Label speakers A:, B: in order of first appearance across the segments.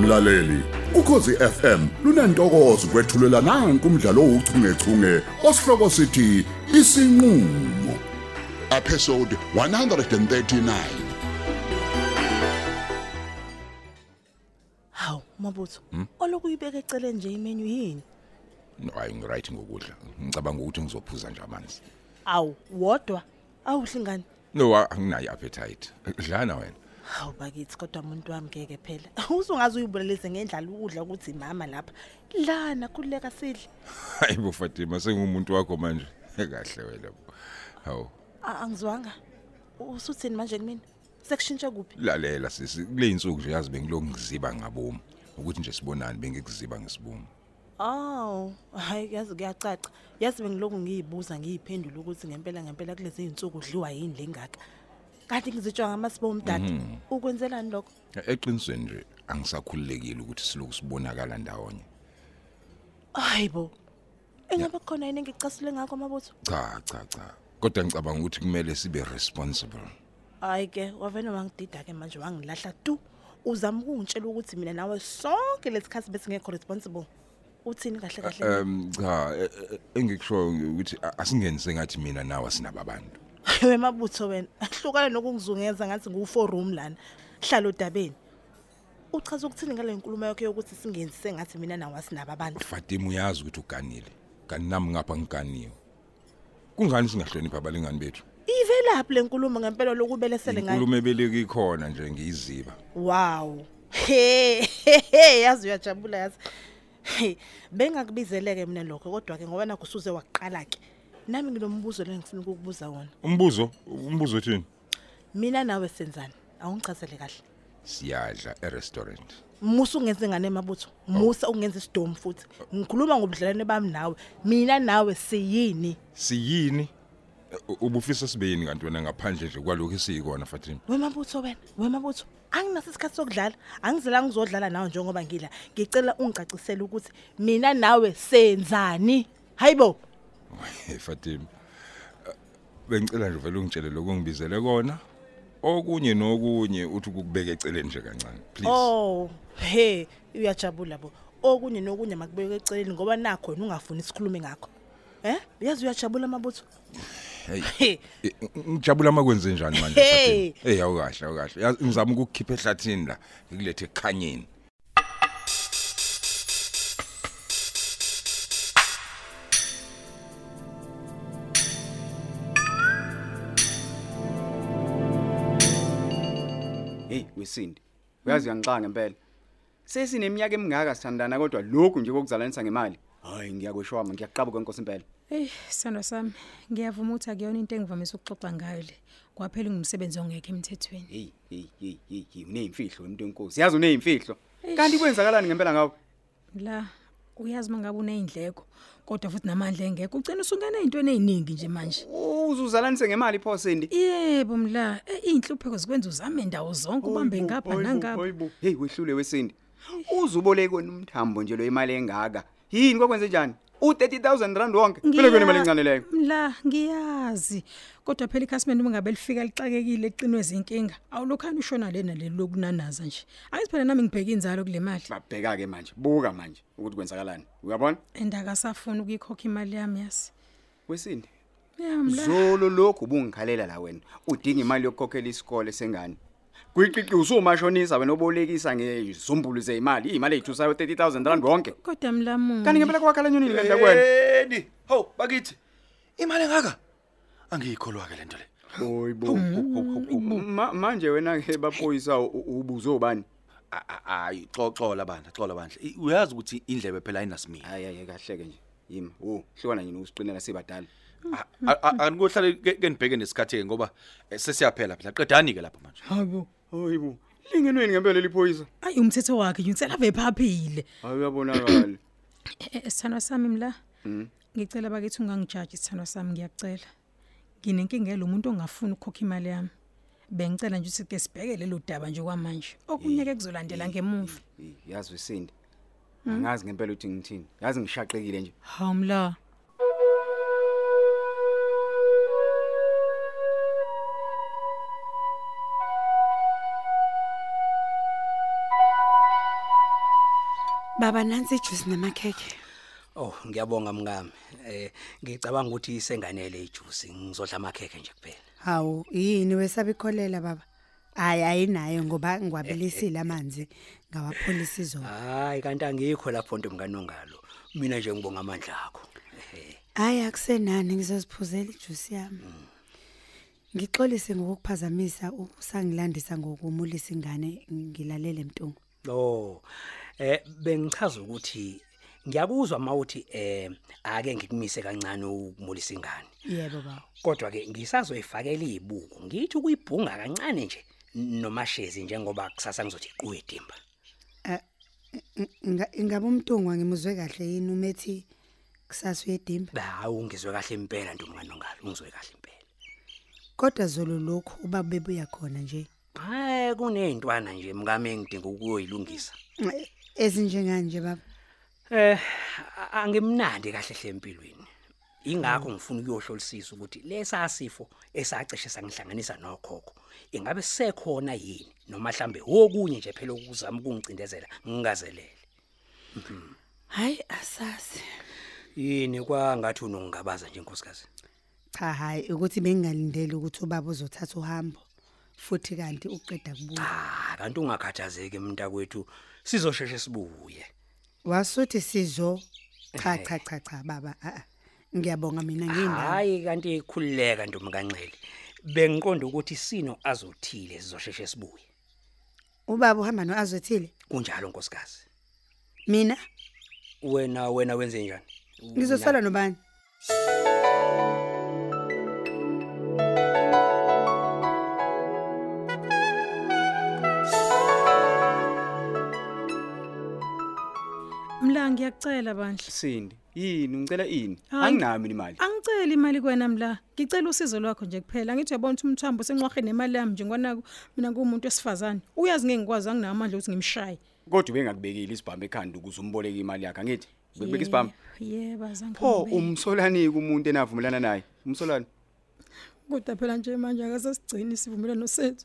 A: mlaleli ukhosi FM lunantokozo kwethulela nange umdlalo ouchungechunge osihloko sithi isinqulo episode 139
B: hawu mabutho olokuyibeka ecele nje imenu yini
C: No, hayi ngiright ngokudla ngicabanga ukuthi ngizophuza nje amanzi
B: awu wodwa awuhle ngani
C: no a- anginayo appetite dlana wena
B: hawu bakithi kodwa umuntu wami ngeke phela uzungaze uyibulelise ngendlala ukudla ukuthi imama lapha lana khululeka sidle
C: hayi bo fatima sengumuntu wakho manje kahle wena bo hawu
B: A- angizwanga usuthini manje kumina sekushintshe kuphi
C: lalela sisi kule insuku nje yazi bengilokhu ngiziba ngabomu ukuthi nje sibonani bengikuziba ngesibomu
B: awu hhayi yazi kuyacaca yazi bengilokhu ngiyibuza ngiyiphendula ukuthi ngempela ngempela kulezi iy'nsuku udliwa yini le ngaka kanti ngizitshwa ngamasibo umdada ukwenzelani lokho
C: E- eqinisweni nje angisakhululekile ukuthi siloku sibonakala ndawonye
B: hayi bo ingabe kukhona yini engicasule ngakho mabutho
C: cha cha cha kodwa ngicabanga ukuthi kumele sibe responsible
B: hayi ke wavene wangidida ke manje wangilahla tu uzama ukungitshela ukuthi mina nawe sonke lesikhathi besingekho responsible uthini kahle kahle
C: um cha e- e- engikushoyo ukuthi a- asingenise ngathi mina nawe sinaba abantu
B: wemabutho wena hlukane nokungizungeza ngathi ngiwu-forum lana hlala odabeni uchaza ukuthini ngale nkulumo yakho yokuthi singenzise ngathi mina nawe asinabo abantu
C: Fatima uyazi ukuthi uganile. Kanti nami ngapha ngiganiwe. Kungani singahlonipha abalingani bethu?
B: ivelaphi le nkulumo ngempela lokubelesele ngayo
C: Inkulumo ebeleke ikhona nje ngiyiziba.
B: wow he he, he, yazi uyajabula yazi Hey, bengakubizeleke mina lokho kodwa-ke ngoba nakho usuze waqala-ke nami nginombuzo lo engifuna ukukubuza wona
C: Umbuzo, umbuzo uthini?
B: mina nawe senzani awungichazele kahle
C: Siyadla e-restaurant.
B: musa ungenze ngane mabutho musa ungenze isidomu futhi ngikhuluma ngobudlelwane bami nawe mina nawe siyini
C: Siyini? U- Ubufisa sibeyini kanti wena ngaphandle nje kwalokho esiyikona Fatima?
B: wemabutho wena wemabutho anginaso isikhathi sokudlala angizela ngizodlala nawe njengoba ngila ngicela ungicacisele ukuthi mina nawe senzani hayibo
C: Hey Fatima. eh, Bengicela nje vele ungitshele lokho ngibizele kona. Okunye nokunye uthi ukubeka eceleni nje kancane. Please.
B: oh he uyajabula bo okunye nokunye makubeke eceleni ngoba nakho wena ungafuni sikhulume ngakho eh uyazi uyajabula mabutho
C: Hey.
B: He.
C: Eh, ngijabula makwenze njani manje
B: Hey.
C: Fatima? hey awukahle awukahle Yazi, ngizama ukukukhipha ehlathini la ngikulethe ekhanyeni
D: Hey wesindi. Uyazi uyangixaka ngempela. Sesineminyaka emingaka sithandana kodwa lokhu nje kokuzalanisa ngemali. Hayi ngiyakweshwama ngiyaqaba kwenkosi impela.
E: eyi sithandwa sami ngiyavuma ukuthi akuyona into engivamise ukuxoxa ngayo le kwaphela ngumsebenzi ongekho emthethweni
D: Hey hey hey hey hey uneyimfihlo umuntu wenkosi. Yazi uneyimfihlo. Kanti kwenzakalani ngempela ngawe?
E: la uyazi uma ngabe uney'ndleko kodwa futhi namandla engekho ugcina usungena ey'ntweni ey'ningi nje manje
D: Uzuzalanise ngemali pho sendi.
E: yebo mla e, iy'nhlupheko zikwenza uzame ndawo zonke ubambe ngapha nangapha
D: Hey wehlule wesindi. Uzubolekwe umthambo nje lo imali engaka. Yini kwakwenze njani? U30000 rand wonke. Phela kuyona imali encane leyo.
E: mla ngiyazi kodwa phela ikhasimende uma ngabe lifika lixakekile liqinwe zinkinga awulokhani ushona le naleli lokunanaza nje angithi phela nami ngibheke inzalo kule mali
D: Babheka ke manje. Buka manje ukuthi kwenzakalani. Uyabona?
E: and akasafuni ukuyikhokha imali yami yasi
D: Wesindi.
E: ya mla
D: zolo lokhu ubungikhalela la wena udinga imali yokukhokhela isikole sengane kwiqiqi usumashonisa wena obolekisa ngezumbulu zeimali iyimali eyithusayo 30000 rand wonke
E: kodwa mlamuli
D: kanti ngempela kwakhala nyonini kanti kwena
F: Yeni. Haw bakithi. Imali engaka? Angiyikholwa ke lento le.
D: oyibo
F: Mm-hmm.
D: manje wena ke baphoyisa u- ubuzo bani
F: A- a- Hayi, xoxola bandla, xola bandla. I- Uyazi ukuthi indlebe phela ayinasimile.
D: hayi hayi kahle ke nje yima wo hlukana nyini usiqinela sibadala
F: Anikohlale ke nibheke nesikhathe ke ngoba eh, sesiyaphela phela. Qedani ke lapha manje.
E: habo
D: oyibo lingenweni ngempela liphoyisa
E: ayi umthetho wakhe nje unselave phaphile
D: hayi uyabonakala
E: Eh, sithandwa sami mla ngicela bakithi ungangijaji sithandwa sami ngiyakucela nginenkinga yalo muntu ongafuni ukukhokha imali yami bengicela nje ukuthi ke sibheke lelo daba nje kwamanje okunye ke kuzolandela ngemuva
D: Eh, yazi wesindi angazi ngempela ukuthi ngithini yazi ngishaqekile nje
E: hawu mla
G: baba nansi ijuice namakhekhe
H: Oh ngiyabonga mngame. Eh ngicabanga ukuthi senganele ijuice ngizodla amakhekhe nje kuphela.
G: hawu yini wesaba ikholela baba hayi ayinayo ngoba ngiwabilisile amanzi ngawapholisa izolo
H: Hayi kanti angikho lapho ntombi kanongalo. Mina nje ngibonga amandla akho.
G: hhayi akusenani ngizoziphuzela ijusi yami ngixolise ngokukuphazamisa usangilandisa ngokumulisa ingane ngilalele mtungu
H: Oh eh bengichaza ukuthi ngiyakuzwa mawuthi eh ake ngikumise kancane ukumulisa ingane.
G: yebo baba
H: Kodwa ke ngisazoyifakela izibuko. Ngithi ukuyibhunga kancane nje nomashezi njengoba kusasa ngizothi iquwe dimba.
G: Nga- ingabe umtungu angimuzwe kahle yini umethi kusasa uyedimba
H: Hawu ngizwe kahle impela ntombi kanongalo, ngizwe kahle impela.
G: kodwa zolo lokhu ubaba bebuya khona nje
H: hayi kuney'ntwana nje mkami engidinga ukuyoyilungisa
G: Eh, ezinjengani nje baba
H: um angimnandi kahle hle empilweni ingakho ngifuna ukuyohlolisisa ukuthi lesa sifo esacishe sangihlanganisa nokhokho ingabe sisekhona yini noma mhlambe wokunye nje phela ukuzama ukungicindezela ngingazelele Mhm.
G: hhayi asazi
H: yini kwangathi unongingabaza nje nkosikazi
G: cha hhayi ukuthi bengingalindeli ukuthi ubaba uzothatha uhambo futhi kanti uqeda kubuya
H: ah kanti ungakhathazeki mntakwethu sizosheshe sibuye
G: wasuthi sizo cha cha cha cha baba a-a. ngiyabonga mina ngiyindaba
H: hayi kanti ikhululeka ntombi kanxele bengiqonda ukuthi sino azothile sizosheshe sibuye
G: ubaba uhamba no-azwethile
H: kunjalo nkosikazi
G: mina
H: wena wena wenze njani
G: ngizosala nobani
E: mla ngiyakucela bandla
D: sindi yini ngicela ini
E: Hayi.
D: anginayo mina imali
E: angiceli imali kuwena mla ngicela usizo lwakho nje kuphela angithi uyabona ukuthi umthambo senqwarhe nemali yami nje ngonaku mina nguwumuntu wesifazane uyazi ngeke ngikwazi anginawo amandla ukuthi ngimshaye
D: kodwa ubengakubekile isibhamu ekhanda ukuze umboleke imali yakhe angithi bekubeka isibhamu
E: yebo
D: pho
E: azange
D: Oh, umsolanike umuntu enavumelana naye umsolani
E: kodwa phela nje manje akasasigcini isivumelwano sethu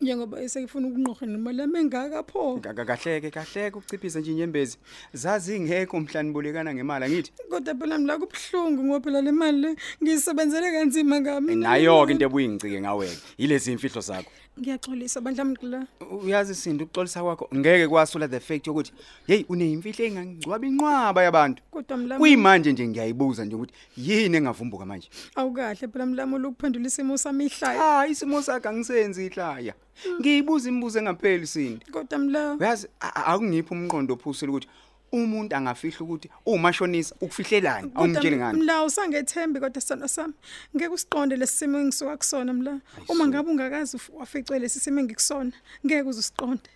E: njengoba esekufuna ukunqorhe nemali yami engaka pho
D: Ka- ka- kahleke kahleke ukuchiphisa nje inyembezi zazi ngekho mhlani bolekana ngemali angithi
E: kodwa phela mla kubuhlungu ngoba phela le mali le ngiyisebenzele kanzima ngami
D: nayo-ke into ebuyingicike ngawena yilezi imfihlo zakho
E: ngiyaxolisa bandla mla
D: uyazi sindi ukuxolisa kwakho ngeke kwasula the fact yokuthi yeyi uneyimfihlo engangicwaba inqwaba yabantu
E: kodwa mla
D: kuyimanje nje ngiyayibuza nje ukuthi yini engavumbuka manje
E: awukahle phela mlamo lokuphendula isimo sami ihlaya
D: hayi isimo sakhe angisenzi ihlaya ngiyibuza imibuzo engapheli sindi
E: kodwa mla
D: uyazi a- a- akungiphi umqondo ophusile ukuthi umuntu angafihla ukuthi uwumashonisa ukufihlelani awungitsheli ngani
E: mla usangethembi kodwa sithando sami ngeke usiqonde lesi simo engisuka kusona mla uma ngabe ungakazi uf- waficwe lesi simo engikusona ngeke uze usiqonde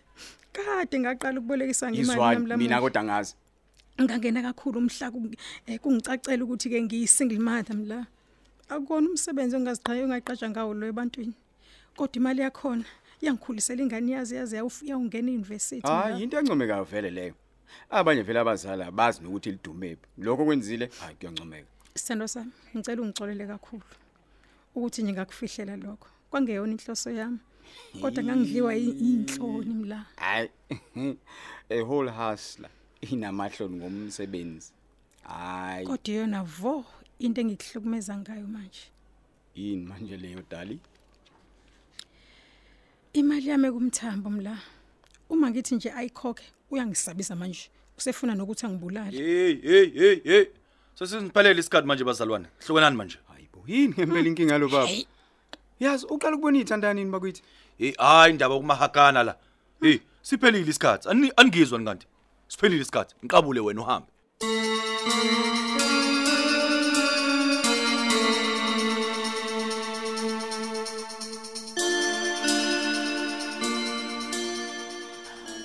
E: kade ngaqala ukubolekisa ngemali
D: izwani
E: mla
D: mina kodwa ngazi
E: ngangena kakhulu umhla ku- eh, kungicacela ukuthi-ke ngiyi-single mother mla akukona umsebenzi ongaziqhayo ongaqasha ngawo lo ebantwini kodwa imali yakhona yangikhulisela ingane yazi yaze yawuf- yawungena i-university mla.
D: hayi into encomekayo vele leyo abanye vele abazali abazi nokuthi lidumephi lokho kwenzile hayi kuyancomeka
E: sithando sami ngicela ungixolele kakhulu ukuthi nje ngakufihlela lokho kwangeyona inhloso yami kodwa ngangidliwa yi- yinhloni mla
D: hayi a whole hustler inamahloni ngomsebenzi hayi
E: kodwa yona vo into engikuhlukumeza ngayo manje
D: yini manje leyo dali
E: imali yami ekumthambo mla uma ngithi nje ayikhokhe uyangisabisa manje usefuna nokuthi angibulale
F: hey hey hey hey sesiziphelele isikhathi manje bazalwane hlukenani manje
D: hayi bo yini ngempela inkinga yalo baba yazi uqala ukubona iy'thandanini bakithi
F: hey hayi indaba kumahakana la hey siphelile isikhathi Ani- aningizwa nikanti siphelile isikhathi ngiqabule wena uhambe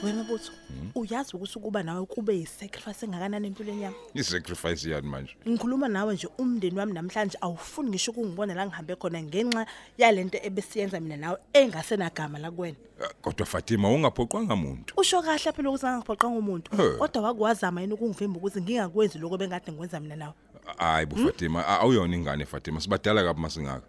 B: wena butho uyazi ukuthi ukuba nawe kube yisacrifice engakanani empilweni yami
C: i-sacrifice yani manje
B: ngikhuluma nawe nje umndeni wami namhlanje awufuni ngisho ukungibona la ngihambe khona ngenxa yalento ebesiyenza mina nawe engasenagama la kuwena
C: Eh, kodwa fatima ungaphoqwanga muntu
B: usho kahle phela ukuthi angangiphoqanga umuntu
C: Eh.
B: kodwa wakuwazama yini ukungivimba ukuthi ngingakwenzi lokho ebengade ngikwenza mina nawe
C: hayi bo fatima a- awuyona ingane fatima sibadala kabi masingaka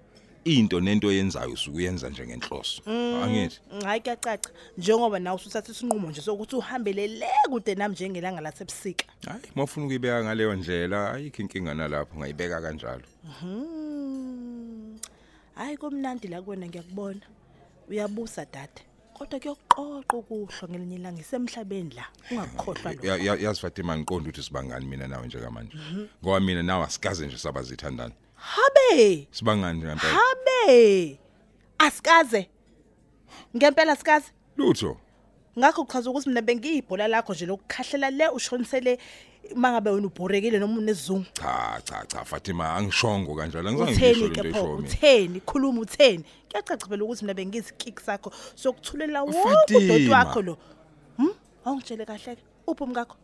C: into nento oyenzayo usuke uyenza njengenhloso angithi
B: hayi kuyacaca njengoba nawe usuthatha isinqumo nje sokuthi uhambele le kude nami njengelanga lasebusika
C: hayi uma ufuna ukuyibeka ngaleyo ndlela ayikho inkinga nalapho ngayibeka kanjalo
B: Hmm. hayi komnandi la kuwena ngiyakubona uyabusa dade kodwa kuyokuqoqa ukuhlwa ngelinye ilanga isemhlabeni la ungakukhohlwa lo
C: Ya- ya- yazi fatima ngiqonda ukuthi sibangani mina nawe njengamanje ngoba mina nawe asikaze nje saba zithandana
B: habe
C: sibangani nje ngempela
B: habe asikaze ngempela sikaze
C: lutho
B: ngakho uchaza ukuthi mina bengiyibhola lakho nje lokukhahlela le ushonisele uma ngabe wena ubhorekile noma unesizungu
C: cha cha cha fatima angishongo kanjalo angizange
B: utheni
C: ngisho
B: ke
C: lento
B: pho
C: eshomi
B: utheni khuluma utheni kuyacaca phela ukuthi mina bengizikiki sakho sokuthulela wonke
C: Fatima.
B: udoti wakho lo um awungitshele kahle-ke uphi umkakho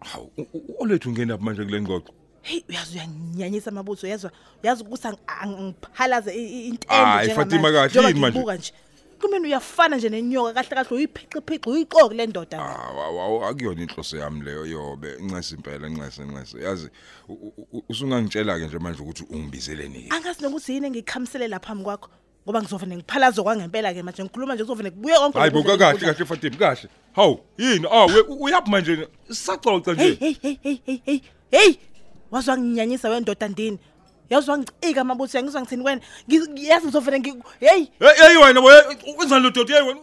C: hawu u- u- olethu ungena phi manje kule ngoxo
B: heyi uyazi uyanginyanyisa amabutho uyezwa uyazi ukuthi ang- ang- angiphalaze i- i-
C: Ayi,
B: intende
C: Fatima, kahle
B: njengoba
C: yini manje?
B: ngiyibuka nje kumina uyafana nje nenyoka kahle kahle uyiphiqiphiqi uyiqoki le ndoda wena.
C: Hawu, hawu hawu, akuyona inhloso yami leyo yobe ncesi impela ncesi ncesi yazi u- u- u- usungangitshela ke nje manje ukuthi ungibizele nini
B: angazi nokuthi yini engiyikhamisele phambi kwakho ngoba ngizovane ngiphalazo kwangempela-ke manje ngikhuluma nje ngizovane kubuye konke
C: hayi
B: lokhu
C: bo kahle kahle fatima kahle hawu yini awe uyaphi manje sisacoca
B: hey
C: nje
B: hey hey hey hey hey hey wazwa nginyanyisa wendoda ndini yazwa ngicika amabuthi yangizwa ngithini kwena Ngi- yazi ngizovele ngi hey
C: Hey hey wena boy wenzani lo doti hey wena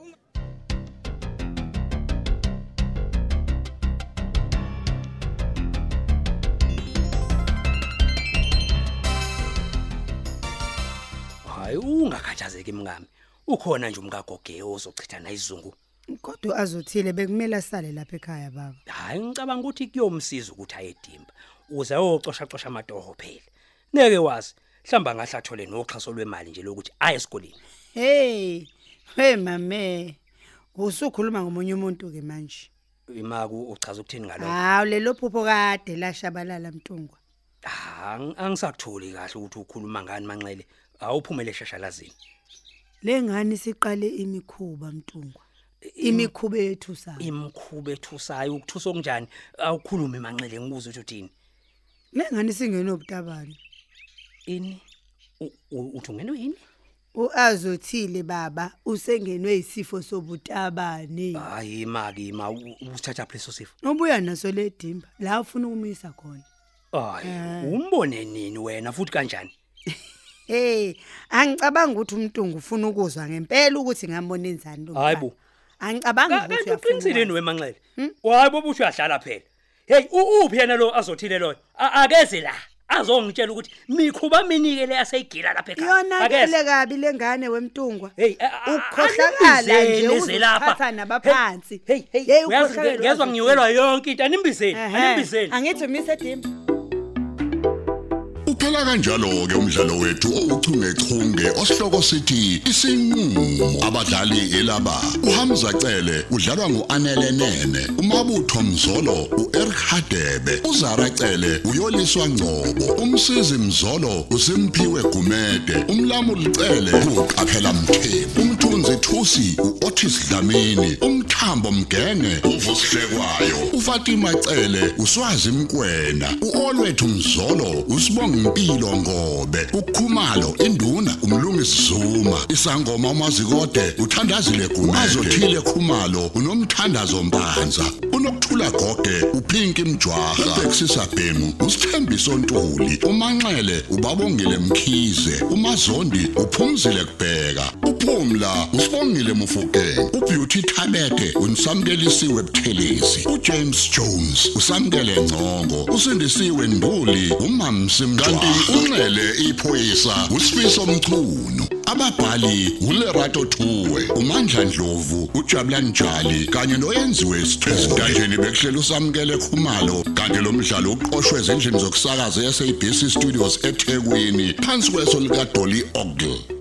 H: hayi ungakhathazeki mngami ukhona nje umkagogeyo ozochitha naye izungu
G: kodwa azothile bekumele asale lapha ekhaya baba
H: hayi ngicabanga ukuthi kuyomsiza ukuthi ayedimba uze ayocoshacosha amatoho phela neke wazi mhlawumbe angahle athole noxhaso lwemali nje lokuthi aye esikoleni
G: hey hey mame usukhuluma ngomunye umuntu ke manje
H: imaku uchaza ukuthini ngalokho
G: hawu lelo phupho kade lashabalala mtungwa
H: Ah, ang- angisakutholi kahle ukuthi ukhuluma ngani manxele awuphumele eshashalazini
G: le ngane siqale imikhuba mtungwa imikhuba yethu sayo
H: imkhuba ethusayo ukuthusa okunjani awukhulume manxele ngikuze ukuthi uthini
G: le ngane singenobutabani
H: ini U- u- uthi ungenwe yini
G: uazothile baba usengenwe isifo sobutabani
H: hayi imaki ima u- usithatha phela eso sifo
G: nobuya naso ledimba la ufuna ukumisa khona
H: hayi umbone nini wena futhi kanjani
G: hey angicabanga ukuthi umntungu ufuna ukuzwa ngempela ukuthi ngambona enzani lo
H: Hayi
G: mfana.
H: bo.
G: angicabanga ukuthi
H: kanti uqinisile
G: uyafuna Hmm?
H: niwe manxele hayi bobuthi uyadlala phela heyi u- uphi yena lo azothile loyo A- akeze la azongitshela ukuthi mikhuba minike le aseyigila lapha ekhaya. Akeze.
G: yonakele kabi lengane wemntungwa
H: Hey,
G: ukukhohlakala nje uziphatha nabaphansi
H: Hey, hey,
G: Hey,
H: uyazi
G: ukhohlakala
H: nge- ngezwe
G: wazi-
H: nginyukelwa yonke into animbizeni,
G: Ehhe.
H: animbizeni.
G: angithi umise dimba
A: Uphela kanjalo ke umdlalo wethu ouchungechunge osihloko sithi isinqulo abadlali elaba uHamza Cele udlalwa nguAnele Nene uMabutho Mzolo uEric Hadebe uZara Cele uyoliswa Ngcobo umsizi Mzolo uSimphiwe Gumede umlamuli Cele uqaphela Mthembu umthunzi Thusi uOtis Dlamini umthambo Mgenge uvusihlekwayo uFatima Cele uswazi Mkwena uOlwethu Mzolo usibonga impilo ngobe ukhumalo induna umlungisi Zuma isangoma umazikode uthandazile gume azothile khumalo unomthandazo mpanza unokuthula gogwe uphinki mjwaha ubexisa bhemu usithembiso ntuli umanxele ubabongile mkhize umazondi uphumzile kubheka uphumla usibongile mufukeng ubeauty thabete unisamkelisiwe buthelezi ujames jones usamkele ngcongo usindisiwe nduli umamsimkanti unxele iphoyisa usifiso mchunu ababhali ulerato thuwe umandla ndlovu ujabulani njali kanye noyenziwe esiqezintanjeni bekuhlela usamukele khumalo kanti lo mdlalo uqoshwe ezindlini zokusakaza yasabc studios ethekwini phansi kweso likadoli ogle